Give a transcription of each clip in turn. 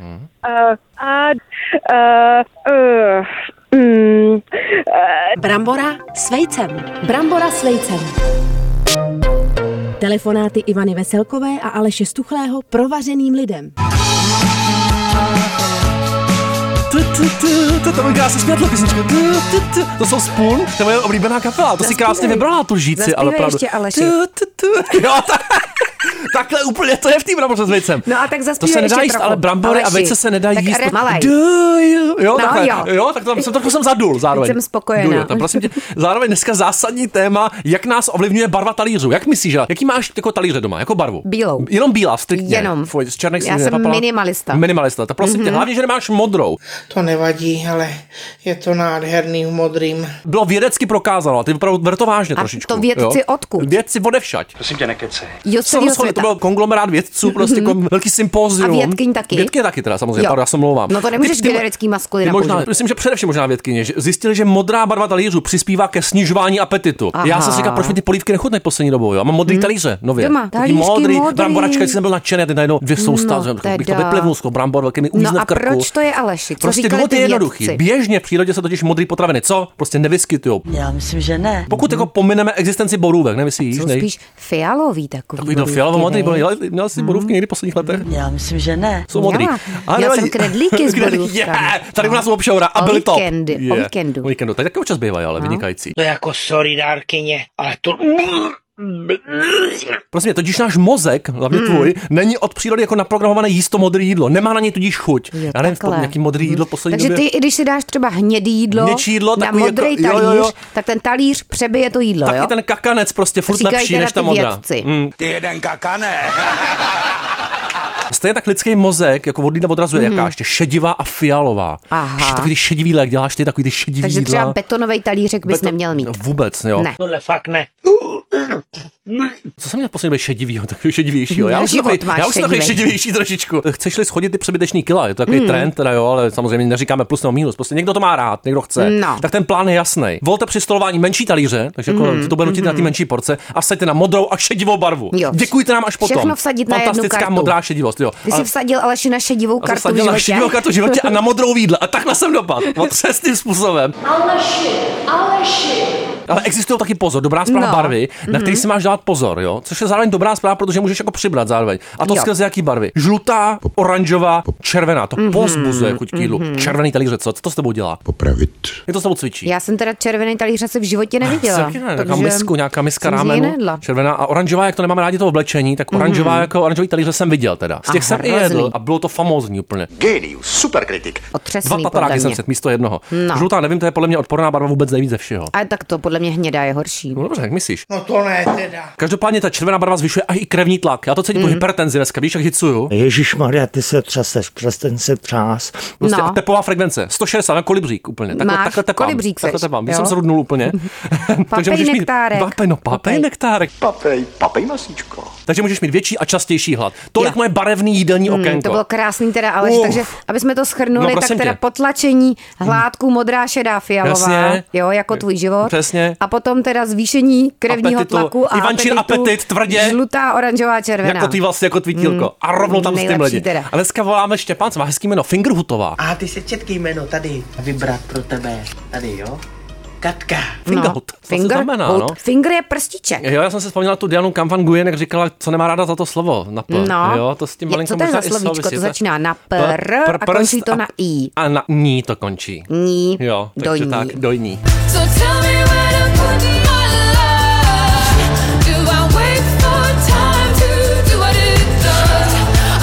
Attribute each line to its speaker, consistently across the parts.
Speaker 1: Uh, a, uh, uh, mm, uh,
Speaker 2: Brambora s vejcem. Brambora s vejcem. Telefonáty Ivany Veselkové a Aleše Stuchlého provařeným lidem.
Speaker 3: Tu, tu, tu, tu, to mi krásně smětlo písnička. Tu, tu, tu. To jsou Spoon, to je moje oblíbená kapela. To si krásně vybrala tu lžíci, ale
Speaker 4: Zaspívej
Speaker 3: pravdu.
Speaker 4: ještě, Aleši.
Speaker 3: Tu, tu, tu. Jo, tak, takhle úplně, to je v té bramboře s vejcem.
Speaker 4: No a tak
Speaker 3: to
Speaker 4: zaspívej
Speaker 3: se nedá
Speaker 4: ještě
Speaker 3: jíst,
Speaker 4: trochu.
Speaker 3: ale brambory a
Speaker 4: Aleši,
Speaker 3: vejce se nedá
Speaker 4: tak
Speaker 3: jíst.
Speaker 4: re- malej.
Speaker 3: Do you- Jo,
Speaker 4: No
Speaker 3: takhle.
Speaker 4: jo.
Speaker 3: jo. tak tam jsem trochu jsem zadul zároveň.
Speaker 4: Teď jsem spokojená.
Speaker 3: Důl, jo. Tam, prosím tě, zároveň dneska zásadní téma, jak nás ovlivňuje barva talířů. Jak myslíš, že- jaký máš jako talíře doma, jako barvu?
Speaker 4: Bílou.
Speaker 3: Jenom bílá, striktně.
Speaker 4: Jenom.
Speaker 3: Fuj, z černých
Speaker 4: Já
Speaker 3: si
Speaker 4: jsem
Speaker 3: nepapala.
Speaker 4: minimalista. Mhm.
Speaker 3: Minimalista, tak prosím tě, hlavně, že nemáš modrou.
Speaker 5: To nevadí, ale je to nádherný v modrým.
Speaker 3: bylo vědecky prokázáno, a ty opravdu ber to vážně
Speaker 4: A
Speaker 3: trošičku.
Speaker 4: to vědci
Speaker 3: jo?
Speaker 4: odkud?
Speaker 3: Vědci odevšať.
Speaker 6: Prosím tě, nekecej.
Speaker 4: Jo, z celého
Speaker 3: Samozřejmě, to
Speaker 4: světa. No Mhm.
Speaker 3: byl konglomerát vědců, prostě jako velký sympózium.
Speaker 4: A vědkyň taky?
Speaker 3: Vědkyně taky teda, samozřejmě,
Speaker 4: Jo.
Speaker 3: pardon, já se mluvám.
Speaker 4: No to nemůžeš generický maskulina
Speaker 3: možná,
Speaker 4: používat.
Speaker 3: Myslím, že především možná vědkyně, že zjistili, že modrá barva talířů přispívá ke snižování apetitu.
Speaker 4: Aha.
Speaker 3: Já jsem si říkal, proč mi ty polívky nechutnají poslední dobou, jo? A mám modrý talíře, nově.
Speaker 4: Doma.
Speaker 3: Taký
Speaker 4: Talířky
Speaker 3: modrý,
Speaker 4: modrý.
Speaker 3: bramboračka, jsem byl nadšený, a teď najednou dvě sousta,
Speaker 4: No
Speaker 3: že bych to
Speaker 4: teda.
Speaker 3: vyplivnul z toho brambor, velký mi
Speaker 4: No
Speaker 3: uvízne
Speaker 4: a
Speaker 3: v krku.
Speaker 4: proč to je, Aleši? Co
Speaker 3: Prostě
Speaker 4: říkali
Speaker 3: důvod
Speaker 4: ty
Speaker 3: je jednoduchý.
Speaker 4: vědci?
Speaker 3: Běžně v přírodě se totiž modrý potraviny, co? Prostě nevyskytují.
Speaker 7: Já myslím, že ne.
Speaker 3: Pokud jako pomineme existenci borůvek, nevím, jestli jíš,
Speaker 4: Jsou
Speaker 3: nej...
Speaker 4: spíš fialový takový.
Speaker 3: Takový byl
Speaker 4: borůvky,
Speaker 3: fialovo modrý,
Speaker 4: ne?
Speaker 3: byl, měl- měl jsi borůvky někdy v posledních letech?
Speaker 7: Já myslím, že ne.
Speaker 3: Jsou modrý.
Speaker 4: Měla.
Speaker 3: Ale
Speaker 4: Já
Speaker 3: nevadí.
Speaker 4: jsem knedlíky s
Speaker 3: Knedlíky,
Speaker 4: borůvkami.
Speaker 3: je, Tady u nás
Speaker 4: No.
Speaker 3: jsou obšoura a
Speaker 4: O
Speaker 3: byly top.
Speaker 4: víkendy, o
Speaker 3: Je,
Speaker 4: víkendu. No.
Speaker 3: O víkendu, tady taky občas bývají, ale vynikající.
Speaker 5: To je jako sorry, dárkyně, ale to...
Speaker 3: Prosím tě, totiž náš mozek, hlavně
Speaker 4: Hmm.
Speaker 3: tvůj, není od přírody jako naprogramované jíst to modré jídlo. Nemá na něj tudíž chuť.
Speaker 4: Jo,
Speaker 3: Já nevím,
Speaker 4: takhle.
Speaker 3: nějaký modré jídlo v poslední
Speaker 4: Takže
Speaker 3: době.
Speaker 4: ty, i když si dáš třeba hnědý jídlo,
Speaker 3: Hnědčí jídlo,
Speaker 4: na
Speaker 3: takový
Speaker 4: modrý
Speaker 3: jako- jo,
Speaker 4: talíř,
Speaker 3: jo, jo.
Speaker 4: tak ten talíř přebije to jídlo,
Speaker 3: Taky
Speaker 4: jo?
Speaker 3: ten kakanec prostě furt
Speaker 4: Říkají
Speaker 3: lepší
Speaker 4: teda
Speaker 3: než ta
Speaker 4: ty
Speaker 3: modrá. Mm.
Speaker 4: vědci.
Speaker 3: Ty jeden kakane. Stejně tak lidský mozek, jako vodlína odrazuje, mm. jaká ještě šedivá a fialová.
Speaker 4: Hmm. Aha.
Speaker 3: Ještě Takový ty šedivý lék děláš ty takový ty šedivý
Speaker 4: Takže třeba
Speaker 3: jídla. no,
Speaker 4: betonový talířek bys
Speaker 3: Beto-
Speaker 4: neměl mít.
Speaker 3: Vůbec, jo.
Speaker 4: Ne.
Speaker 5: Tohle fakt ne.
Speaker 3: Co jsem měl poslední šedivýho, takový šedivějšího? Já
Speaker 4: Na
Speaker 3: už jsem
Speaker 4: život
Speaker 3: takový,
Speaker 4: máš
Speaker 3: já už jsem takový
Speaker 4: šedivej.
Speaker 3: šedivější trošičku. Chceš-li schodit ty přebyteční kila, je to
Speaker 4: Hmm.
Speaker 3: takový trend, teda jo, ale samozřejmě neříkáme plus nebo minus. Prostě někdo to má rád, někdo chce.
Speaker 4: No.
Speaker 3: Tak ten plán je jasný. Volte při stolování menší talíře, takže jako
Speaker 4: Hmm.
Speaker 3: to bude nutit na ty menší porce a seďte na modrou a šedivou barvu.
Speaker 4: Jo.
Speaker 3: Děkujte nám až potom.
Speaker 4: Všechno vsadit na jednu
Speaker 3: Fantastická
Speaker 4: kartu.
Speaker 3: modrá šedivost, jo.
Speaker 4: Ty jsi vsadil Aleši na šedivou
Speaker 3: a jsem
Speaker 4: kartu v
Speaker 3: vsadil na šedivou
Speaker 4: životě.
Speaker 3: kartu v životě a na modrou výdle. A takhle jsem dopadl. No, přesným způsobem.
Speaker 8: Aleši, Aleši.
Speaker 3: Ale existují taky pozor, dobrá zpráva
Speaker 4: No.
Speaker 3: no. barvy, na který si máš dát pozor, jo? Což je zároveň dobrá zpráva, protože můžeš jako přibrat zároveň. A to
Speaker 4: Jo.
Speaker 3: skrze jaký barvy? Žlutá, oranžová, červená. To
Speaker 4: Mhm.
Speaker 3: pozbuzuje chuť k jídlu. Červený talíře, co? co to s tebou dělá?
Speaker 9: Popravit.
Speaker 3: Jak to s tebou cvičí?
Speaker 4: Já jsem teda červený talíř asi v životě neviděla.
Speaker 3: Taky ne, Nějaká misku, nějaká miska
Speaker 4: jsem z Mhm. něj
Speaker 3: rámenu,
Speaker 4: nejedla.
Speaker 3: červená a oranžová, jak to nemáme rádi to oblečení, tak oranžová jako oranžový talíře jsem viděl teda. Z těch
Speaker 4: A
Speaker 3: jsem i
Speaker 4: hrozný.
Speaker 3: jedl a bylo to famózní úplně.
Speaker 9: Genius, superkritik.
Speaker 3: Dva
Speaker 4: Otřesný podle
Speaker 3: pataráky jsem
Speaker 4: mě.
Speaker 3: set místo jednoho.
Speaker 4: No.
Speaker 3: Žlutá, nevím, to je podle mě odporná barva vůbec nejvíc ze všeho.
Speaker 4: Ale tak to podle mě hnědá je horší.
Speaker 3: No dobře, jak myslíš?
Speaker 5: No to ne teda.
Speaker 3: Každopádně ta červená barva zvyšuje až i krevní tlak. Já to cítím mm. po
Speaker 4: Mhm.
Speaker 3: hypertenzi dneska, víš, jak hicuju.
Speaker 10: Ježíš Maria, ty se třeseš, přestaň se třás.
Speaker 3: Prostě
Speaker 4: No.
Speaker 3: no. tepová frekvence, 160 na kolibřík úplně. Takhle,
Speaker 4: Máš
Speaker 3: takhle tepám,
Speaker 4: kolibřík
Speaker 3: takhle
Speaker 4: seš,
Speaker 3: tepám. Já
Speaker 4: jo? Mhm.
Speaker 3: jsem se rudnul úplně.
Speaker 4: Papej
Speaker 3: můžeš
Speaker 4: nektárek.
Speaker 3: Mít, papej, no, papej,
Speaker 4: Papej.
Speaker 3: nektárek.
Speaker 9: Papej, papej masíčko.
Speaker 3: Takže můžeš mít větší a častější hlad. Tolik
Speaker 4: Jo. Mhm,
Speaker 3: moje barevný jídelní mm, okénko.
Speaker 4: To bylo krásný teda, ale
Speaker 3: Uf.
Speaker 4: takže, aby jsme to schrnuli,
Speaker 3: No,
Speaker 4: tak
Speaker 3: prosím
Speaker 4: teda
Speaker 3: tě.
Speaker 4: potlačení hládku modrá, šedá, fialová,
Speaker 3: Jasně.
Speaker 4: jo, jako tvůj život.
Speaker 3: Přesně.
Speaker 4: A potom teda zvýšení krevního
Speaker 3: Apetitu.
Speaker 4: tlaku a
Speaker 3: Ivančin
Speaker 4: apetitu,
Speaker 3: apetit, tvrdě.
Speaker 4: Žlutá, oranžová, červená. Hmm.
Speaker 3: jako ty vlastně, jako tvítílko. Mm, a rovnou tam s tím
Speaker 4: Mhm. Nejlepší
Speaker 3: lidi.
Speaker 4: teda.
Speaker 3: A dneska voláme Štěpán, co má hezký jméno, Fingerhutová.
Speaker 7: A ty se četkej jméno tady. Vybrat pro tebe. Tady, jo? Katka.
Speaker 3: Fingerhut. No, to znamená,
Speaker 4: hut.
Speaker 3: no?
Speaker 4: Finger je prstíček.
Speaker 3: Jo, já jsem si vzpomněla tu Dianu Kamfan Guyen, jak říkala, co nemá ráda za to slovo. Na p.
Speaker 4: No.
Speaker 3: Jo, to s tím
Speaker 4: Je-
Speaker 3: malinko
Speaker 4: co to je
Speaker 3: možná
Speaker 4: za
Speaker 3: i
Speaker 4: slovíčko?
Speaker 3: souvisí.
Speaker 4: To začíná na pr a končí to na i.
Speaker 3: A na ní to končí.
Speaker 4: Ní. No,
Speaker 3: Jo, takže
Speaker 4: dojní.
Speaker 3: tak, dojní.
Speaker 8: So tell me where to put my love. Do I wait for time to do what it does?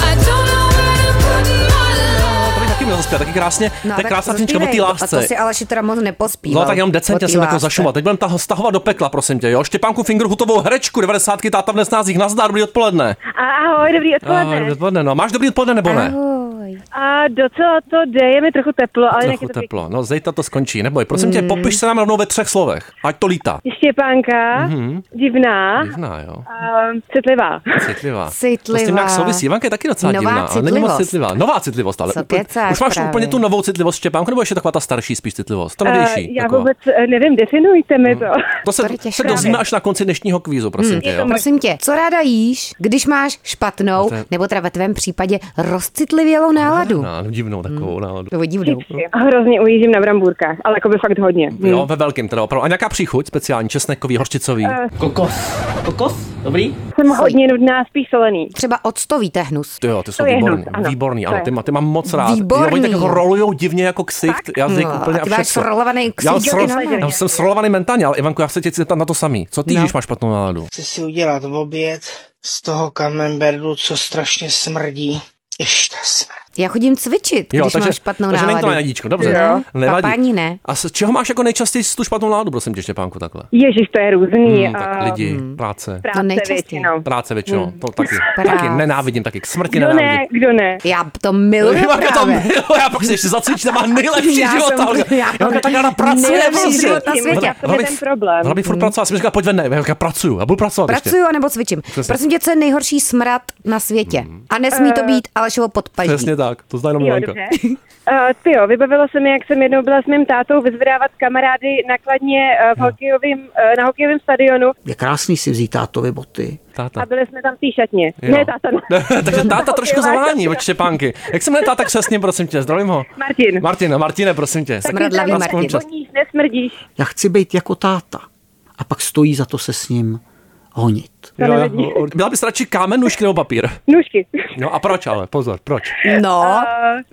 Speaker 8: I don't know where to put my love.
Speaker 3: To bych taky měl zaspět, taky krásně. No, tak
Speaker 4: tak
Speaker 3: krásná písnička o té
Speaker 4: zaspívej. A to
Speaker 3: lásce.
Speaker 4: si Aleši teda moc nepospíval.
Speaker 3: No tak jenom
Speaker 4: O
Speaker 3: decentně
Speaker 4: té
Speaker 3: jsem jako
Speaker 4: lásce.
Speaker 3: zašumat. Teď budeme taho- stahovat do pekla, prosím tě, jo. Štěpánku Fingerhutovou herečku 90. táta v nesnázích. Nazdar, dobrý odpoledne.
Speaker 1: A- Ahoj, dobrý
Speaker 3: Ahoj,
Speaker 1: odpoledne.
Speaker 3: dobrý odpoledne. No, máš dobrý odpoledne nebo ne?
Speaker 4: Ahoj.
Speaker 1: A docela to jde, je mi trochu teplo, ale jinak
Speaker 3: Trochu
Speaker 1: je to pěkný.
Speaker 3: teplo. No, zejta to skončí. Neboj, prosím
Speaker 4: Hmm.
Speaker 3: tě, popiš se nám rovnou ve třech slovech. Ať to lítá.
Speaker 1: Štěpánka,
Speaker 3: Mhm.
Speaker 1: divná,
Speaker 3: Divná, jo.
Speaker 1: ehm, citlivá.
Speaker 3: Citlivá.
Speaker 4: Citlivá.
Speaker 3: To s tím nějak souvisí. Ivanka je taky docela
Speaker 4: Nová
Speaker 3: divná, ale není moc
Speaker 4: citlivost.
Speaker 3: citlivá. Nová citlivost, ale
Speaker 4: Co
Speaker 3: úplně-
Speaker 4: kecáš
Speaker 3: už máš
Speaker 4: právě?
Speaker 3: úplně tu novou citlivost Štěpánku, nebo ještě taková ta starší spíš citlivost? Ta
Speaker 1: Eh,
Speaker 3: novější.
Speaker 1: Já
Speaker 3: taková. Mhm.
Speaker 1: vůbec eh, nevím, definujte mi to.
Speaker 3: To se,
Speaker 4: To je těžké.
Speaker 3: se dozvíme až na konci dnešního kvízu,
Speaker 1: Hmm.
Speaker 3: prosím tě, jo.
Speaker 4: Prosím tě, co ráda jíš, když máš špatnou,
Speaker 3: No to je-
Speaker 4: nebo teda ve tvém případě rozcitlivělou divnou náladu.
Speaker 3: No, no, divnou
Speaker 4: Hmm.
Speaker 3: takovou náladu.
Speaker 4: To vidí vdou.
Speaker 1: A hrozně ujíždím na brambůrkách, ale jako by fakt hodně.
Speaker 4: Hmm.
Speaker 3: Jo, ve velkým teda opravdu. A nějaká příchuť speciální, česnekový, horčicový.
Speaker 1: Eh,
Speaker 7: Kokos. Kokos? Dobrý?
Speaker 1: Jsem hodně nudná, spíš solený.
Speaker 4: Třeba octovíte hnus.
Speaker 3: Ty jo, ty jsou
Speaker 1: To je
Speaker 3: výborný.
Speaker 1: hnus, ano.
Speaker 3: výborný, ano,
Speaker 1: To je.
Speaker 3: ty, má, ty mám moc rád.
Speaker 4: Výborný.
Speaker 3: Jo, oni tak jako rolujou divně jako ksicht, tak? jazyk
Speaker 4: No,
Speaker 3: úplně
Speaker 4: a ty máš
Speaker 3: všechno.
Speaker 4: srolovaný
Speaker 3: já,
Speaker 4: ksicht,
Speaker 3: sro...
Speaker 4: jo, ty
Speaker 3: já
Speaker 4: normálně.
Speaker 3: jsem srolovaný mentálně, ale Ivanko, já se tě chci zeptat na to samý. Co ty, no. když máš špatnou náladu?
Speaker 5: Chci si udělat oběd z toho kamemberdu, co strašně smrdí. Ještě smrt.
Speaker 4: Já chodím cvičit,
Speaker 3: Jo,
Speaker 4: když
Speaker 3: takže,
Speaker 4: mám špatnou
Speaker 3: takže není
Speaker 4: náladu.
Speaker 3: to na jadíčko, dobře.
Speaker 4: Jo.
Speaker 3: Nevadí.
Speaker 4: Papání ne.
Speaker 3: A z čeho máš jako nejčastěji tu špatnou náladu, prosím tě, Štěpánku, takhle?
Speaker 1: Ježíš, to je různý.
Speaker 3: Hmm, tak
Speaker 1: a
Speaker 3: lidi, práce.
Speaker 1: Práce
Speaker 4: nejčastěji.
Speaker 1: většinou.
Speaker 3: Práce většinou, to taky,
Speaker 4: Práce.
Speaker 3: taky nenávidím, taky k smrti
Speaker 1: Kdo No ne,
Speaker 3: nenávidím.
Speaker 1: kdo ne?
Speaker 4: Já No, to miluju
Speaker 3: Ivanka jako to
Speaker 4: právě.
Speaker 3: milo, já pak se ještě zacvičím, má nejlepší
Speaker 4: Já
Speaker 3: život.
Speaker 4: jsem-
Speaker 3: Olga.
Speaker 4: já
Speaker 3: Ivanka
Speaker 4: mám
Speaker 3: tak ráda pracuje.
Speaker 4: nejlepší
Speaker 3: prostě.
Speaker 4: život na světě.
Speaker 3: Hele,
Speaker 1: To je
Speaker 3: hele,
Speaker 1: ten problém. Hmm.
Speaker 3: Hele, bych furt pracovala, jsem říkala, pojď ven, ne, Ivanka, pracuju, já budu pracovat ještě.
Speaker 4: Pracuju anebo cvičím.
Speaker 3: Přesně. Mm.
Speaker 4: Prosím tě, co je nejhorší smrad na světě? A nesmí to být Alešovo podpaždí.
Speaker 3: Přesně tak, to zná jenom
Speaker 1: Jo,
Speaker 3: Ivanka.
Speaker 1: dobře. Uh, ty jo, vybavilo se mi, jak jsem jednou byla s mým tátou vyzvedávat kamarády nakladně uh, v hokejovým, uh, na hokejovém stadionu
Speaker 7: Je krásný si vzít tátovi boty.
Speaker 3: Táta.
Speaker 1: a byli jsme tam v té šatně.
Speaker 3: Jo.
Speaker 1: Ne, táta, ne.
Speaker 3: Takže táta trošku
Speaker 1: Hokejová
Speaker 3: zavání
Speaker 1: šatna.
Speaker 3: od Štěpánky. Jak se jmenuje táta křesně, prosím tě, zdravím ho.
Speaker 1: Martin.
Speaker 3: Martina, Martine, prosím tě.
Speaker 1: Taky
Speaker 4: Smradlavý
Speaker 1: tam
Speaker 4: Martin.
Speaker 1: Voníš, nesmrdíš.
Speaker 7: Já chci být jako táta. A pak stojí za to se s ním honit.
Speaker 1: To nevidí.
Speaker 3: jo. Byla bys radši kámen, nůžky nebo papír?
Speaker 1: Nůžky.
Speaker 3: No a proč ale? Pozor, proč?
Speaker 4: No,
Speaker 1: Uh,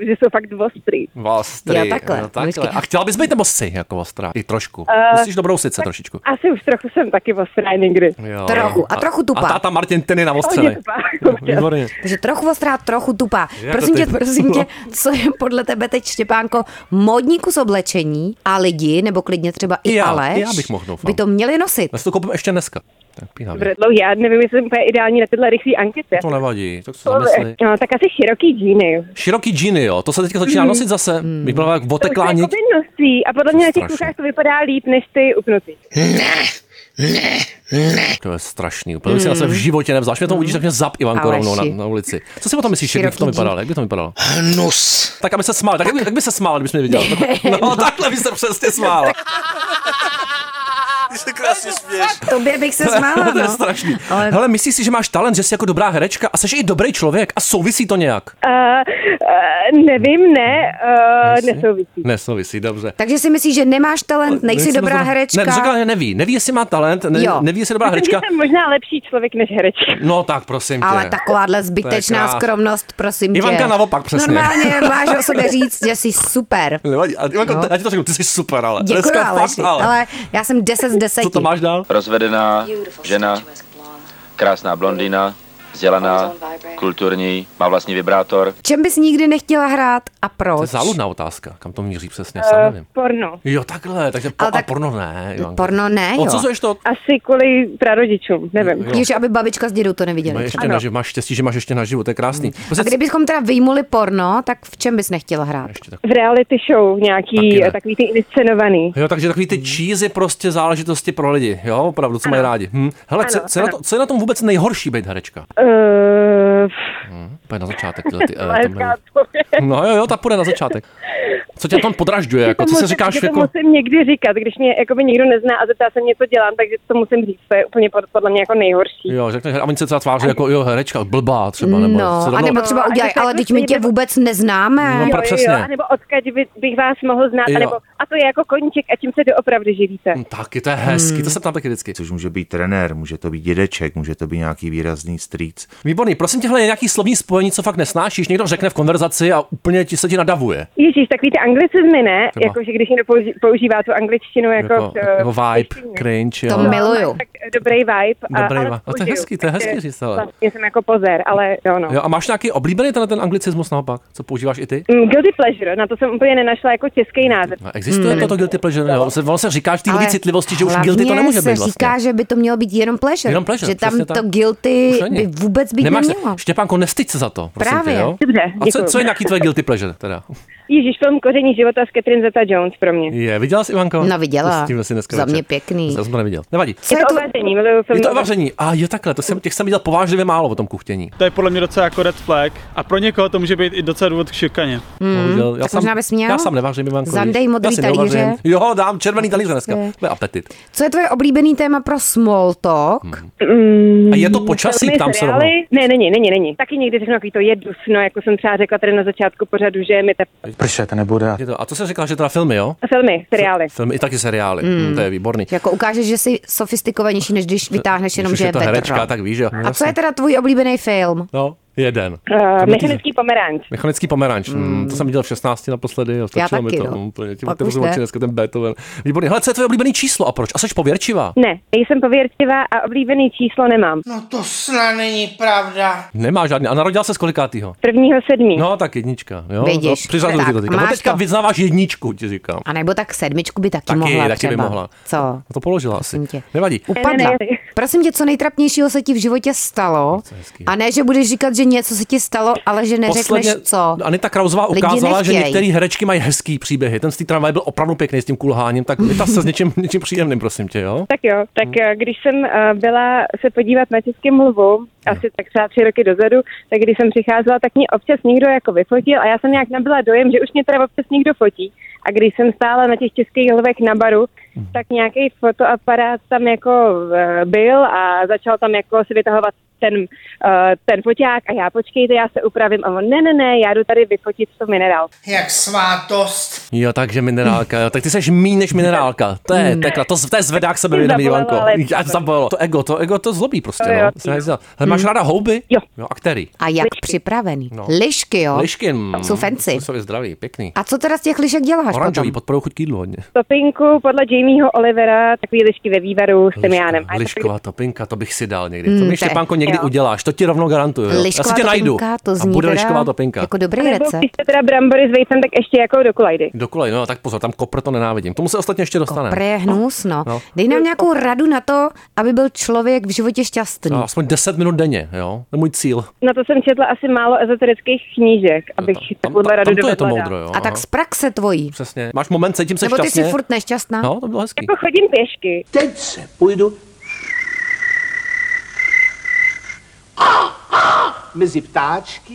Speaker 1: že jsou fakt ostrý.
Speaker 3: Ostry.
Speaker 4: Jo, takhle, Eh,
Speaker 3: jo, No, takhle.
Speaker 4: nůžky.
Speaker 3: A chtěla bys být nebo jsi jako ostrá? I trošku. Musíš dobrou sice trošičku.
Speaker 1: Asi už trochu jsem taky ostrá někdy.
Speaker 3: Jo.
Speaker 4: Trochu, a trochu tupá.
Speaker 3: A táta Martin, ten
Speaker 1: Hodně
Speaker 3: je navostřený.
Speaker 1: tupá.
Speaker 3: Výborně.
Speaker 4: takže trochu ostrá, trochu tupá.
Speaker 3: Jak
Speaker 4: Prosím
Speaker 3: to No.
Speaker 4: tě,
Speaker 3: teď?
Speaker 4: prosím tě, co je podle tebe teď, Štěpánko, módní kus oblečení a lidi, nebo klidně třeba i
Speaker 3: I já,
Speaker 4: Aleš,
Speaker 3: i já bych mohl, doufám.
Speaker 4: by to měli nosit.
Speaker 3: Já si to koupím ještě dneska. Tak pínavě.
Speaker 1: Dobře, dlouhý. Já nevím, jestli jsem úplně ideální na tyhle rychlé ankety.
Speaker 3: To nevadí, tak se zamysli.
Speaker 1: No, tak asi široký džíny.
Speaker 3: Široký džíny, jo, to se teďka začíná
Speaker 4: Mm.
Speaker 3: nosit zase. Bych byla jak oteklá
Speaker 1: To
Speaker 3: niť.
Speaker 4: jako
Speaker 1: už je nosí a podle mě na těch
Speaker 3: Strašný.
Speaker 1: klukách to vypadá líp než ty upnutý.
Speaker 3: To je strašný, úplně bych si na sebe v životě nevzal. Až mě to uvidíš, tak mě zap Ivanko
Speaker 4: Mm. Aleši.
Speaker 3: rovnou na, na, ulici. Co si o tom myslíš, jak by
Speaker 4: Široký
Speaker 3: to
Speaker 4: džín.
Speaker 3: vypadalo? Jak by to vypadalo?
Speaker 5: Hnus.
Speaker 3: Tak aby se smál, tak, jak by- jak by se smál, kdybys mě viděl. No, takhle by se přesně smál. Ty se krásně směš.
Speaker 4: Tobě bych se smála,
Speaker 3: to je
Speaker 4: no.
Speaker 3: strašný.
Speaker 4: Ale-
Speaker 3: Hele, myslíš si, že máš talent, že jsi jako dobrá herečka a jsi i dobrý člověk a souvisí to nějak?
Speaker 1: Uh, uh, nevím, ne, uh,
Speaker 3: Nejsi?
Speaker 1: nesouvisí.
Speaker 3: Nesouvisí, dobře.
Speaker 4: Takže si myslíš, že nemáš talent, nejsi dobrá herečka.
Speaker 3: No, Ne, no, řekla, že neví. Neví, jestli má talent, ne,
Speaker 4: Jo.
Speaker 3: neví, jestli je dobrá
Speaker 1: Myslím,
Speaker 3: herečka.
Speaker 1: že jsem možná lepší člověk než herečka.
Speaker 3: No tak, prosím tě.
Speaker 4: Ale takováhle
Speaker 3: To
Speaker 4: zbytečná
Speaker 3: je krás-
Speaker 4: skromnost, prosím tě.
Speaker 3: Ivanka naopak, přesně.
Speaker 4: Normálně máš o sobě říct, že jsi super.
Speaker 3: Nevadí, a Ivanko,
Speaker 4: No.
Speaker 3: já ti to řeknu, ty jsi super, ale.
Speaker 4: Děkuji,
Speaker 3: Dneska
Speaker 4: Aleši,
Speaker 3: fakt, ale.
Speaker 4: ale já jsem 10 z 10.
Speaker 3: Co to máš dál?
Speaker 6: Rozvedená žena, krásná blondýna, vzdělaná, kulturní, má vlastní vibrátor.
Speaker 4: Čem bys nikdy nechtěla hrát a
Speaker 3: To je
Speaker 4: proč? Eh.
Speaker 3: záludná otázka, kam to míří přesně, sám nevím.
Speaker 1: Porno.
Speaker 3: Jo, takhle, takže po,
Speaker 4: Ale
Speaker 3: tak, a
Speaker 4: tak-
Speaker 3: porno ne. Ivanko.
Speaker 4: Porno ne,
Speaker 3: O
Speaker 4: jo.
Speaker 3: co jsi to?
Speaker 1: Asi kvůli prarodičům, nevím.
Speaker 3: Jo.
Speaker 4: Jež, aby babička s dědou to
Speaker 1: prostě
Speaker 3: Má
Speaker 4: neviděli. třeba.
Speaker 3: ještě naživ, máš štěstí, že máš ještě naživu, to je krásný.
Speaker 1: Mm.
Speaker 3: Prostě
Speaker 4: A kdybychom teda vyjmuli porno, tak v čem bys nechtěla hrát?
Speaker 3: ještě tak.
Speaker 1: V reality show
Speaker 3: Taky
Speaker 1: nějaký,
Speaker 3: ne.
Speaker 1: takový ty inscenovaný.
Speaker 3: Jo, takže takový ty cheesy prostě záležitosti pro lidi, jo, opravdu, co mají rádi. Hm. Hele, co,
Speaker 1: Ano,
Speaker 3: co, je na to, co je na tom vůbec nejhorší být herečka?
Speaker 1: Uh,
Speaker 3: Hm. Pojď na začátek. Tyhle, ty, eh, to
Speaker 1: Hezká
Speaker 3: jmenuji.
Speaker 1: odpověď.
Speaker 3: no jo, jo, ta půjde na začátek. Co tě na tom podražďuje, jako,
Speaker 1: To
Speaker 3: co si
Speaker 1: musím-
Speaker 3: říkáš
Speaker 1: že to
Speaker 3: jako...
Speaker 1: musím někdy říkat, když mě jakoby nikdo nezná a zeptá se mě, co dělám, takže to musím říct, to je úplně pod- podle mě jako nejhorší.
Speaker 3: Jo, řekneš, a oni se třeba tváří jako, jo, herečka, blbá třeba, nebo... se
Speaker 4: No,
Speaker 3: rovnou-
Speaker 4: a nebo třeba
Speaker 1: No,
Speaker 4: udělej,
Speaker 1: a nebo
Speaker 4: ale
Speaker 1: tak
Speaker 4: teď my
Speaker 1: prostě
Speaker 4: tě
Speaker 1: nebo-
Speaker 4: vůbec neznáme.
Speaker 3: No,
Speaker 1: jo,
Speaker 3: přesně.
Speaker 1: jo, anebo odkud by, bych vás mohl znát,
Speaker 3: Jo.
Speaker 1: anebo, a to je jako koníček, a čím se doopravdy živíte.
Speaker 3: Hm, Taky, to je hezký, to se ptám taky vždycky.
Speaker 6: Což může být trenér, může to být dědeček, může to být nějaký výrazný strýc.
Speaker 3: Výborný, prosím tě, hele, je nějaký slovní spojení, co fakt nesnášíš, někdo řekne v konverzaci a úplně ti se ti nadavuje.
Speaker 1: Ježíš, takový ty anglicizmy, ne?
Speaker 3: Třeba.
Speaker 1: Jakože když někdo použi- používá tu angličtinu jako...
Speaker 3: Jako,
Speaker 1: eh,
Speaker 3: jako vibe,
Speaker 1: češtině.
Speaker 3: cringe,
Speaker 4: To
Speaker 3: jo.
Speaker 4: mi- Miluju.
Speaker 1: Tak dobrý vibe. a-
Speaker 3: Dobrý
Speaker 1: ale
Speaker 3: vibe. A to je
Speaker 1: použiju.
Speaker 3: hezký, to je
Speaker 1: Takže
Speaker 3: hezký říct, ale.
Speaker 1: Vlastně jsem jako pozér, ale jo no.
Speaker 3: Jo, a máš nějaký oblíbený tenhle ten anglicismus naopak, co používáš i ty?
Speaker 1: Mm, Guilty pleasure, na to jsem úplně nenašla jako český název.
Speaker 3: A Existuje toto guilty pleasure? Jo, se- ono se říká v té
Speaker 4: Mm. Ale
Speaker 3: době citlivosti, že už
Speaker 4: hlavně
Speaker 3: guilty to nemůže
Speaker 4: se
Speaker 3: být vlastně.
Speaker 4: říká, že by to mělo být jenom pleasure.
Speaker 3: Jenom pleasure,
Speaker 4: že tam
Speaker 3: přesně tak.
Speaker 4: to guilty
Speaker 3: Už není.
Speaker 4: by vůbec být
Speaker 3: Nemáš se-
Speaker 4: nemělo.
Speaker 3: Štěpánko, nestyď se za to, prosím
Speaker 4: Právě.
Speaker 3: tě, jo?
Speaker 1: Dobře,
Speaker 3: A co,
Speaker 1: děkuju.
Speaker 3: co je nějaký tvoje guilty pleasure teda?
Speaker 1: Ježíš, film Koření života s Catherine Zeta-Jones pro mě.
Speaker 3: Je, viděla jsi Ivanko?
Speaker 4: No, viděla.
Speaker 3: To s tím asi dneska
Speaker 4: Za
Speaker 3: večer.
Speaker 4: mě pěkný.
Speaker 3: Já jsem to neviděl. Nevadí.
Speaker 4: Co
Speaker 1: Je
Speaker 4: je
Speaker 1: to
Speaker 4: tvo-
Speaker 1: ovaření, miluju film.
Speaker 3: Je to vaření. A jo, takhle, to jsem, těch jsem viděl povážlivě málo o tom kuchtění.
Speaker 11: To je podle mě docela jako red flag a pro někoho to může být i docela důvod k šikaně.
Speaker 3: Mm, viděl. Já,
Speaker 4: Hmm. tak možná bys měl?
Speaker 3: já sám nevařím, Ivanko.
Speaker 4: Zandej
Speaker 3: víš.
Speaker 4: modrý
Speaker 3: Já si nevařím.
Speaker 4: talíře.
Speaker 3: Jo, dám červený talíře dneska.
Speaker 4: Je.
Speaker 3: To je apetit.
Speaker 4: Co je tvoje oblíbený téma pro small talk?
Speaker 3: Mhm.
Speaker 1: Mm,
Speaker 3: A je to počasí,
Speaker 1: filmy,
Speaker 3: tam se rovnou.
Speaker 1: seriály? Ne, není, není, není. Taky někdy řeknu takový to jednu sno, jako jsem třeba řekla tady na začátku pořadu, že je mi ta...
Speaker 3: Pršet nebude. Je to, a co jsi říkal, že teda filmy, jo?
Speaker 1: Filmy, seriály.
Speaker 3: Filmy i taky seriály. Mm. To je výborný.
Speaker 4: Jako ukážeš, že jsi sofistikovanější, než když vytáhneš jenom,
Speaker 3: Když
Speaker 4: že
Speaker 3: už
Speaker 4: je
Speaker 3: to herečka,
Speaker 4: vetro.
Speaker 3: tak víš, jo.
Speaker 4: A co je teda tvůj oblíbený film?
Speaker 3: No, jeden.
Speaker 1: Uh,
Speaker 3: byl
Speaker 1: mechanický pomeranč.
Speaker 3: Mechanický pomeranč, mm. to jsem viděl v 16 naposledy, jo, stačilo mi
Speaker 4: Hmm. taky,
Speaker 3: to.
Speaker 4: no.
Speaker 3: Mm, Úplně, tím
Speaker 4: Pak už
Speaker 3: otevřu
Speaker 4: ne.
Speaker 3: oči dneska ten Beethoven. Výborný. Hele, co je tvoje oblíbený číslo a proč? A jsi pověrčivá?
Speaker 1: Ne, nejsem pověrčivá a oblíbený číslo nemám.
Speaker 5: No to snad není pravda.
Speaker 3: Nemá žádný. A narodil se z kolikátýho?
Speaker 1: Prvního sedmí.
Speaker 3: No, tak jednička. Jo?
Speaker 4: Vidíš.
Speaker 3: No, přiřazuju ti
Speaker 4: Tak,
Speaker 3: to teďka. No,
Speaker 4: máš
Speaker 3: teďka
Speaker 4: to.
Speaker 3: vyznáváš jedničku, ti říkám.
Speaker 4: A nebo tak sedmičku by taky,
Speaker 3: Taky,
Speaker 4: mohla
Speaker 3: taky
Speaker 4: třeba.
Speaker 3: by mohla.
Speaker 4: Co?
Speaker 3: No to položila asi.
Speaker 4: Prosím tě.
Speaker 3: Nevadí.
Speaker 1: Ne,
Speaker 4: Upadla.
Speaker 1: ne, ne.
Speaker 4: Prosím tě, co nejtrapnějšího se ti v životě stalo?
Speaker 3: hezkýho.
Speaker 4: A ne, že budeš říkat, že něco se ti stalo, ale že neřekneš co.
Speaker 3: Anita Krauzová
Speaker 4: Lidi
Speaker 3: ukázala, že
Speaker 4: nechtěj.
Speaker 3: některé herečky mají hezký příběhy. Ten z té tramvaje byl opravdu pěkný s tím kulháním, tak je ta se s něčím, něčím příjemným, prosím tě, jo?
Speaker 1: Tak jo, tak eh, když jsem eh, byla se podívat na Český mluvu, asi tak třeba tři roky dozadu, tak když jsem přicházela, tak mě občas někdo jako vyfotil a já jsem nějak nabyla dojem, že už mě teda občas někdo fotí. A když jsem stála na těch českých lvech na baru, tak nějaký fotoaparát tam jako eh, byl a začal tam jako si vytahovat ten, eh, ten foťák a já počkejte, já se upravím a on ne, ne, ne, já jdu tady vyfotit to minerál.
Speaker 5: Jak svátost.
Speaker 3: Jo, takže minerálka, jo. Tak ty seš míň než minerálka. To je, takhle, to, to je zvedák sebe vědomí,
Speaker 1: Zabolelo,
Speaker 3: Ivanko.
Speaker 1: ale-
Speaker 3: Já zabolelo. To ego, to ego to zlobí prostě,
Speaker 1: Jo,
Speaker 3: no.
Speaker 1: jo.
Speaker 3: Se nezdělá. Hele, máš ráda houby?
Speaker 1: Jo.
Speaker 3: jo a který?
Speaker 4: A jak připravený?
Speaker 3: No. mm.
Speaker 4: Lišky, jo?
Speaker 3: Liškin.
Speaker 4: Jsou fancy.
Speaker 3: To jsou je zdravý, pěkný.
Speaker 4: A co teda z těch lišek děláš
Speaker 3: Oranžový,
Speaker 4: potom?
Speaker 3: podporují chuť k jídlu hodně.
Speaker 1: Topinku podle Jamieho Olivera, takový lišky ve vývaru s tymiánem. A je to
Speaker 3: lišková topinka, to bych si dal někdy. to
Speaker 4: Mm,
Speaker 3: mi
Speaker 4: to je-
Speaker 3: Štěpánko někdy
Speaker 1: jo.
Speaker 3: uděláš, to ti rovnou garantuju. jo. Já si tě najdu.
Speaker 4: topinka, to
Speaker 3: a
Speaker 4: zní
Speaker 3: bude
Speaker 4: teda
Speaker 3: lišková topinka.
Speaker 4: Jako dobrý
Speaker 1: Nebo
Speaker 4: recept.
Speaker 1: když jste teda brambory s vejcem, tak ještě jako do kulajdy.
Speaker 3: Do kolej, no tak pozor, tam kopr to nenávidím. Tomu se ostatně ještě dostaneme.
Speaker 4: Pre je hnus, no.
Speaker 3: No.
Speaker 4: Dej nám nějakou radu na to, aby byl člověk v životě šťastný.
Speaker 3: No, aspoň 10 minut denně, jo? To je můj cíl.
Speaker 1: Na to jsem četla asi málo ezoterických knížek, abych
Speaker 3: Tam,
Speaker 1: takovou
Speaker 3: tam,
Speaker 1: radu
Speaker 3: tam No to je to
Speaker 1: dovedla dát.
Speaker 3: moudro, jo? no.
Speaker 4: A
Speaker 3: aha.
Speaker 4: tak z praxe tvojí.
Speaker 3: Přesně. Máš moment, cítím se
Speaker 4: Nebo ty
Speaker 3: šťastně.
Speaker 4: jsi furt Hmm. nešťastná?
Speaker 3: No, to bylo hezký.
Speaker 1: Jako chodím pěšky.
Speaker 9: Teď se půjdu mezi ptáčky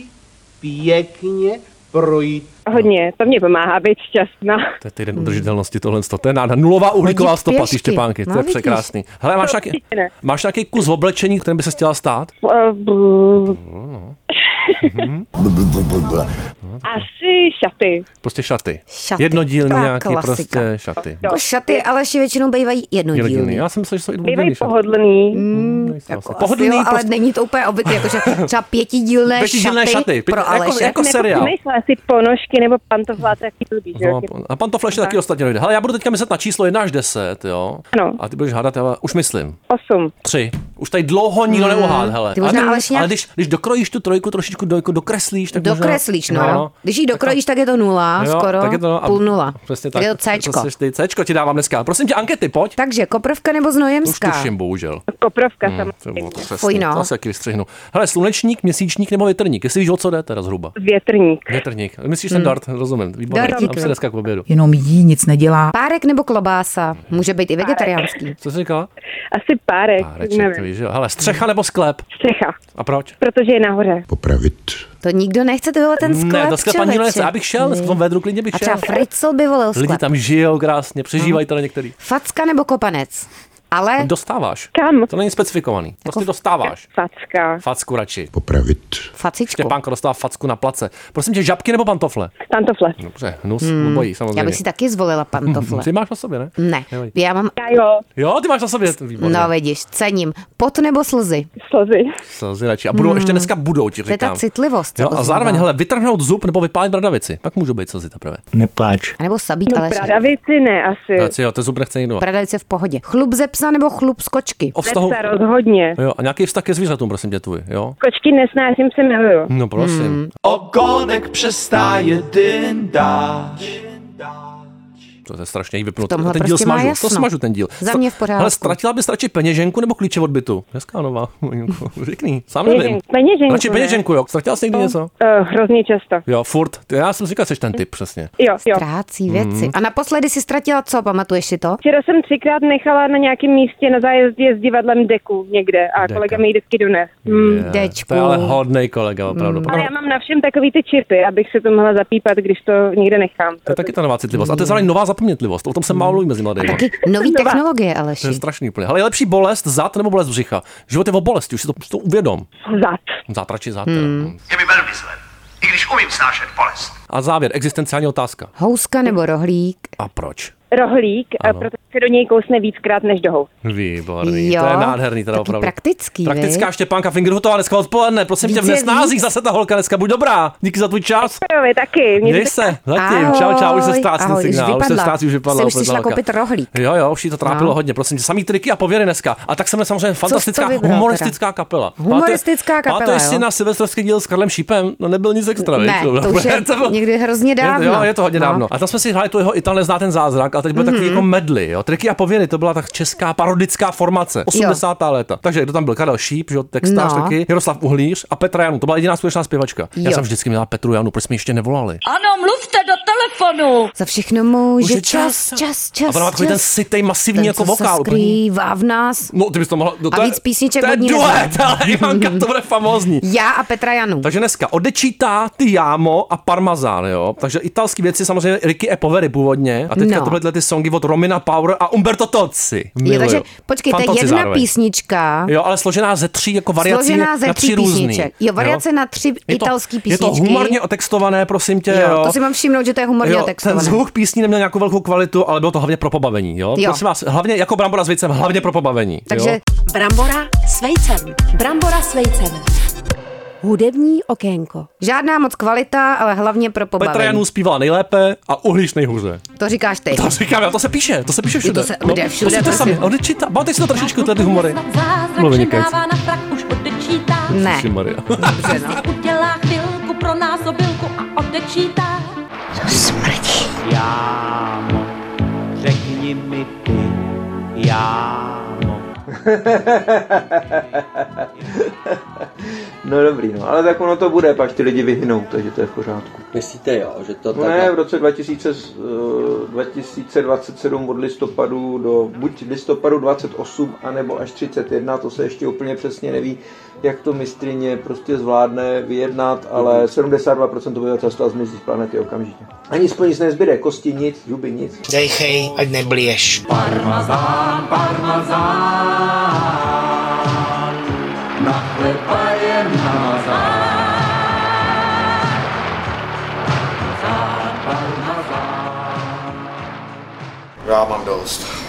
Speaker 9: pěkně projít.
Speaker 1: Hodně, to mě pomáhá být šťastná.
Speaker 3: To je týden udržitelnosti tohle. To je nádhera. Nulová uhlíková
Speaker 4: Chodit
Speaker 3: stopa, ty
Speaker 4: Hmm. pěšky.
Speaker 3: Štěpánky.
Speaker 4: No,
Speaker 3: To je
Speaker 4: vidíš.
Speaker 3: překrásný. Hele, máš nějaký,
Speaker 1: určitě ne.
Speaker 3: máš nějaký kus oblečení, kterým by se chtěla stát?
Speaker 1: Eh, bu- Asi šaty.
Speaker 3: Prostě šaty.
Speaker 4: Šaty.
Speaker 3: Jednodílný
Speaker 4: Taková
Speaker 3: nějaký
Speaker 4: klasika.
Speaker 3: prostě šaty.
Speaker 1: Jo.
Speaker 4: Jako šaty, ale ještě většinou bývají
Speaker 3: Jednodílný.
Speaker 4: jednodílný.
Speaker 3: Já jsem myslel, že jsou i
Speaker 1: Bývají
Speaker 3: dvoudílný šaty.
Speaker 1: pohodlný.
Speaker 3: Mm,
Speaker 4: Jako
Speaker 3: pohodlný,
Speaker 4: asi jo, ale
Speaker 3: prostě-
Speaker 4: není to úplně obvyklé, jakože třeba pětidílné,
Speaker 3: Pětidílné
Speaker 4: šaty,
Speaker 3: šaty, pět-
Speaker 4: pro
Speaker 3: jako-
Speaker 4: Aleše.
Speaker 3: jako- seriál.
Speaker 1: Nejsla si ponožky nebo pantofláce, jaký to líbí, že
Speaker 3: No,
Speaker 1: jo? Jako
Speaker 3: a pan- a pan to fleše taky ostatně dojde. Hele, já budu teďka myslet na číslo 1 až 10, jo?
Speaker 1: Ano.
Speaker 3: A ty budeš hádat, já už myslím.
Speaker 1: Osm.
Speaker 3: Tři. Už tady dlouho nikdo neuhád, hele.
Speaker 4: Hmm. Ty možná
Speaker 3: ale,
Speaker 4: Aleš nějak-
Speaker 3: ale když, když dokrojíš tu trojku, trošičku dojku, dokreslíš, tak možná-
Speaker 4: Dokreslíš, no. Když ji dokrojíš, tak je to nula,
Speaker 3: Jako- Jo,
Speaker 4: skoro
Speaker 3: tak je to, no, a-
Speaker 4: půl nula.
Speaker 3: Přesně tak.
Speaker 4: Je to Cčko.
Speaker 3: To seš ty Cčko ti dávám dneska. Prosím tě, ankety, pojď.
Speaker 4: Takže koprovka nebo
Speaker 3: Už
Speaker 4: znojemská?
Speaker 3: tuším, bohužel.
Speaker 1: Koprovka
Speaker 3: To
Speaker 1: samozřejmě.
Speaker 3: bylo to přesný.
Speaker 4: Fuj, no.
Speaker 3: To asi taky vystřihnu. Hele, slunečník, měsíčník nebo větrník? Jestli víš, o co jde teda zhruba.
Speaker 1: Větrník.
Speaker 3: Větrník. Myslíš ten dart, rozumím. Výborně.
Speaker 4: Dartík,
Speaker 3: Tam
Speaker 4: Hmm. no.
Speaker 3: se dneska k obědu.
Speaker 2: Jenom jí nic nedělá.
Speaker 4: Párek nebo klobása? Může být i vegetariánský.
Speaker 3: Co jsi říkala?
Speaker 1: Asi párek.
Speaker 3: Páreček, ty
Speaker 1: nevím.
Speaker 3: víš, jo. Hele, střecha nebo sklep?
Speaker 1: Střecha.
Speaker 3: A proč?
Speaker 1: Protože je nahoře.
Speaker 4: To nikdo nechce, to byl ten sklep,
Speaker 3: ne, do sklepa nikdo nechce.
Speaker 4: člověče.
Speaker 3: Já bych šel, v tom vedru klidně bych
Speaker 4: A
Speaker 3: šel.
Speaker 4: třeba Fritzl by volil
Speaker 3: Lidi
Speaker 4: sklep. Mhm.
Speaker 3: tam žijou krásně, přežívají to na některý.
Speaker 4: Facka nebo kopanec? Ale
Speaker 3: Dostáváš.
Speaker 1: Kam?
Speaker 3: To není
Speaker 4: Jako-
Speaker 3: specifikovaný. Prostě dostáváš.
Speaker 1: Facka.
Speaker 3: Facku radši.
Speaker 4: facičku.
Speaker 3: Štěpánko dostává facku na place. Prosím tě, žabky nebo pantofle?
Speaker 1: Pantofle.
Speaker 3: Dobře, hnus, hmm. obojí samozřejmě.
Speaker 4: Já bych si taky zvolila pantofle.
Speaker 3: Ty máš na sobě, ne?
Speaker 4: Ne,
Speaker 3: Nevadí.
Speaker 4: já mám...
Speaker 1: Já jo,
Speaker 3: Jo, ty máš na sobě ten výborný.
Speaker 4: No vidíš, cením. Pot nebo slzy?
Speaker 1: slzy.
Speaker 3: Slzy radši. A budou, ještě dneska budou, ti
Speaker 4: Hmm. To je
Speaker 3: říkám.
Speaker 4: ta citlivost. co
Speaker 3: Jo, a
Speaker 4: poznává.
Speaker 3: zároveň, hele, vytrhnout zub nebo vypálit bradavici. Pak můžou být slzy teprve.
Speaker 10: Nepláč.
Speaker 4: A nebo sabít,
Speaker 1: No
Speaker 4: ale
Speaker 1: pradavici ne asi.
Speaker 3: Tak si jo, ten zub nechce nikdo.
Speaker 4: pradavice v pohodě. Chlup ze psa nebo chlup z kočky?
Speaker 3: O vztahu...
Speaker 1: Psa rozhodně.
Speaker 3: Jo, a nějaký vztah ke zvířatům, prosím tě, tvůj, jo?
Speaker 1: Kočky nesnáším, se miluju.
Speaker 3: No prosím.
Speaker 4: Hmm.
Speaker 11: Ogonek přestáje dyndáč.
Speaker 3: To je strašně jí vypnout.
Speaker 4: V tomhle
Speaker 3: ten díl
Speaker 4: prostě má
Speaker 3: smažu,
Speaker 4: jasno.
Speaker 3: to smažu ten díl.
Speaker 4: Za mě v pořádku.
Speaker 3: Ale ztratila bys radši peněženku nebo klíče od bytu? Dneska nová. Maňko, Řekni, sám nevím.
Speaker 1: Peněženku, peněženku,
Speaker 3: Radši
Speaker 1: ne?
Speaker 3: peněženku, jo. Ztratila jsi někdy něco?
Speaker 1: Uh, hrozně často.
Speaker 3: Jo, furt. Já jsem si říkal, jsi ten typ, přesně.
Speaker 1: Jo, jo.
Speaker 4: Ztrácí
Speaker 3: Mhm.
Speaker 4: věci. A naposledy si ztratila co, pamatuješ si to?
Speaker 1: Včera jsem třikrát nechala na nějakém místě na zájezdě s divadlem deku někde a
Speaker 3: Deka. No.
Speaker 1: kolega mi ji vždycky dones. Mm.
Speaker 3: Je, Eh, To je ale hodnej kolega, opravdu.
Speaker 4: Hmm.
Speaker 1: Ale já mám na všem takový ty čipy, abych se to mohla zapípat, když to někde nechám.
Speaker 3: To je taky ta nová citlivost. A to je zároveň nová zapomnětlivost. O tom se málo mluví mezi mladými.
Speaker 4: Taky nový technologie, ale
Speaker 3: To je strašný úplně. Ale je lepší bolest zad nebo bolest břicha? Život je o bolesti, už si to, už to uvědom.
Speaker 1: Zad.
Speaker 3: Zátrači zad. Hmm.
Speaker 12: Je mi velmi zle, i když umím snášet bolest.
Speaker 3: A závěr, existenciální otázka.
Speaker 4: Houska nebo rohlík?
Speaker 3: A proč?
Speaker 1: Rohlík,
Speaker 3: Ano.
Speaker 1: ano. protože se do něj kousne víckrát než do hou.
Speaker 3: Výborný,
Speaker 1: Jo,
Speaker 3: to je nádherný, teda
Speaker 4: taky
Speaker 3: opravdu.
Speaker 4: praktický,
Speaker 3: Praktická
Speaker 4: viď?
Speaker 3: Štěpánka Fingerhutová dneska odpoledne, prosím tě, v
Speaker 4: Víc je
Speaker 3: nesnázích
Speaker 4: víc.
Speaker 3: zase ta holka dneska, buď dobrá, díky za tvůj čas.
Speaker 1: Děkuji, taky.
Speaker 3: Měj se, zatím, čau, čau, už se
Speaker 4: Ahoj.
Speaker 3: ztrácí ten
Speaker 4: Ahoj, už
Speaker 3: signál, už se
Speaker 4: vypadla.
Speaker 3: ztrácí, už vypadla.
Speaker 4: Jsem si
Speaker 3: úplně ta
Speaker 4: šla
Speaker 3: holka.
Speaker 4: koupit rohlík.
Speaker 3: Jo, jo, už jí to trápilo
Speaker 4: No.
Speaker 3: hodně, prosím tě, samý triky a pověry dneska. A tak jsme samozřejmě
Speaker 4: jsi to
Speaker 3: fantastická
Speaker 4: vybral teda?
Speaker 3: humoristická kapela.
Speaker 4: Humoristická kapela,
Speaker 3: Pamatuješ si
Speaker 4: jo.
Speaker 3: na silvestrovský díl s Karlem Šípem? No nebyl nic extra, viď?
Speaker 4: Ne, to už je
Speaker 3: To bylo-
Speaker 4: někdy hrozně dávno.
Speaker 3: Jo, je to hodně
Speaker 4: No.
Speaker 3: dávno. A tam jsme si hráli tu jeho Ital nezná ten zázrak, a teď byl takový
Speaker 4: Mhm.
Speaker 3: jako medly, jo. Triky a pověry, to byla tak česká parodická formace, 80. léta. Takže kdo tam byl? Karel Šíp, že jo, textář
Speaker 13: No.
Speaker 3: taky, Jaroslav Uhlíř a Petra Janu, to byla jediná skutečná zpěvačka. Já
Speaker 13: Jo.
Speaker 3: jsem vždycky měla Petru Janu, proč jsme ještě nevolali?
Speaker 13: Ano, mluvte do telefonu.
Speaker 4: Za všechno může
Speaker 13: je
Speaker 4: čas, čas, čas, čas.
Speaker 3: A ona má takový ten sitej, masivní
Speaker 4: Ten,
Speaker 3: jako
Speaker 4: co se
Speaker 3: vokál.
Speaker 4: skrývá v nás.
Speaker 3: No, ty bys to mohla... No,
Speaker 4: A
Speaker 3: to je-
Speaker 4: víc písniček
Speaker 3: To je
Speaker 4: od ní
Speaker 3: duet,
Speaker 4: neznám.
Speaker 3: ale Ivanka, to bude famózní.
Speaker 4: Já a Petra Janu.
Speaker 3: Takže dneska odečítá ty jámo a parmazán, jo. Takže italský věci samozřejmě Ricky e Poveri původně. A teďka
Speaker 4: No.
Speaker 3: no. tyhle ty songy od Romina Power a Umberto Tozzi.
Speaker 4: Je,
Speaker 3: Miluju.
Speaker 4: takže počkej, to je
Speaker 3: Fantozzi
Speaker 4: jedna
Speaker 3: zároveň.
Speaker 4: písnička.
Speaker 3: Jo, ale složená ze tří jako variací
Speaker 4: složená ze
Speaker 3: na
Speaker 4: tří
Speaker 3: tři různý.
Speaker 4: písniček. Jo, variace na tři
Speaker 3: Je to-
Speaker 4: italský
Speaker 3: Je
Speaker 4: písničky.
Speaker 3: to humorně otextované, prosím tě.
Speaker 4: jo,
Speaker 3: jo.
Speaker 4: to si mám všimnout, že to je humorně
Speaker 3: Jo, ten
Speaker 4: textované.
Speaker 3: zvuk písní neměl nějakou velkou kvalitu, ale bylo to hlavně pro pobavení. Jo?
Speaker 4: Jo.
Speaker 3: Prosím vás, hlavně jako brambora s věcem, hlavně pro pobavení. jo?
Speaker 2: Brambora s vejcem. Brambora s vejcem. Hudební okénko.
Speaker 4: Žádná moc kvalita, ale hlavně pro pobavení.
Speaker 3: Petra Janů zpívala nejlépe a uhlíš nejhůře.
Speaker 4: To říkáš ty.
Speaker 3: To říkám, já, to se píše, to se píše všude. No,
Speaker 4: To se- kde všude, prostě.
Speaker 3: to
Speaker 4: prosím.
Speaker 3: sami, odečítá. Máte si to trošičku, tyhle ty humory. Bylo
Speaker 13: Zázrak, že
Speaker 3: vynikající.
Speaker 13: dává na frak, už odečítá.
Speaker 3: Maria.
Speaker 13: Dobře, no. Udělá chvilku pro násobilku a odečítá.
Speaker 9: To smrdí. Jámo, řekni mi ty, jámo.
Speaker 14: No dobrý, no, ale tak ono to bude, pak ty lidi vyhynou, takže to je v pořádku.
Speaker 15: Myslíte jo, že to
Speaker 14: No ne, v roce 2000, eh, 2027 od listopadu do buď listopadu 28, anebo až 31, to se ještě úplně přesně neví, jak to mistrině prostě zvládne vyjednat, ale 72% obyvatelstva zmizí z planety okamžitě. Ani spolu nic nezbyde, kosti nic, zuby nic.
Speaker 5: Dejchej, ať nebliješ. Parmazán,
Speaker 8: parmazán,
Speaker 5: na chleba je
Speaker 16: Já mám dost.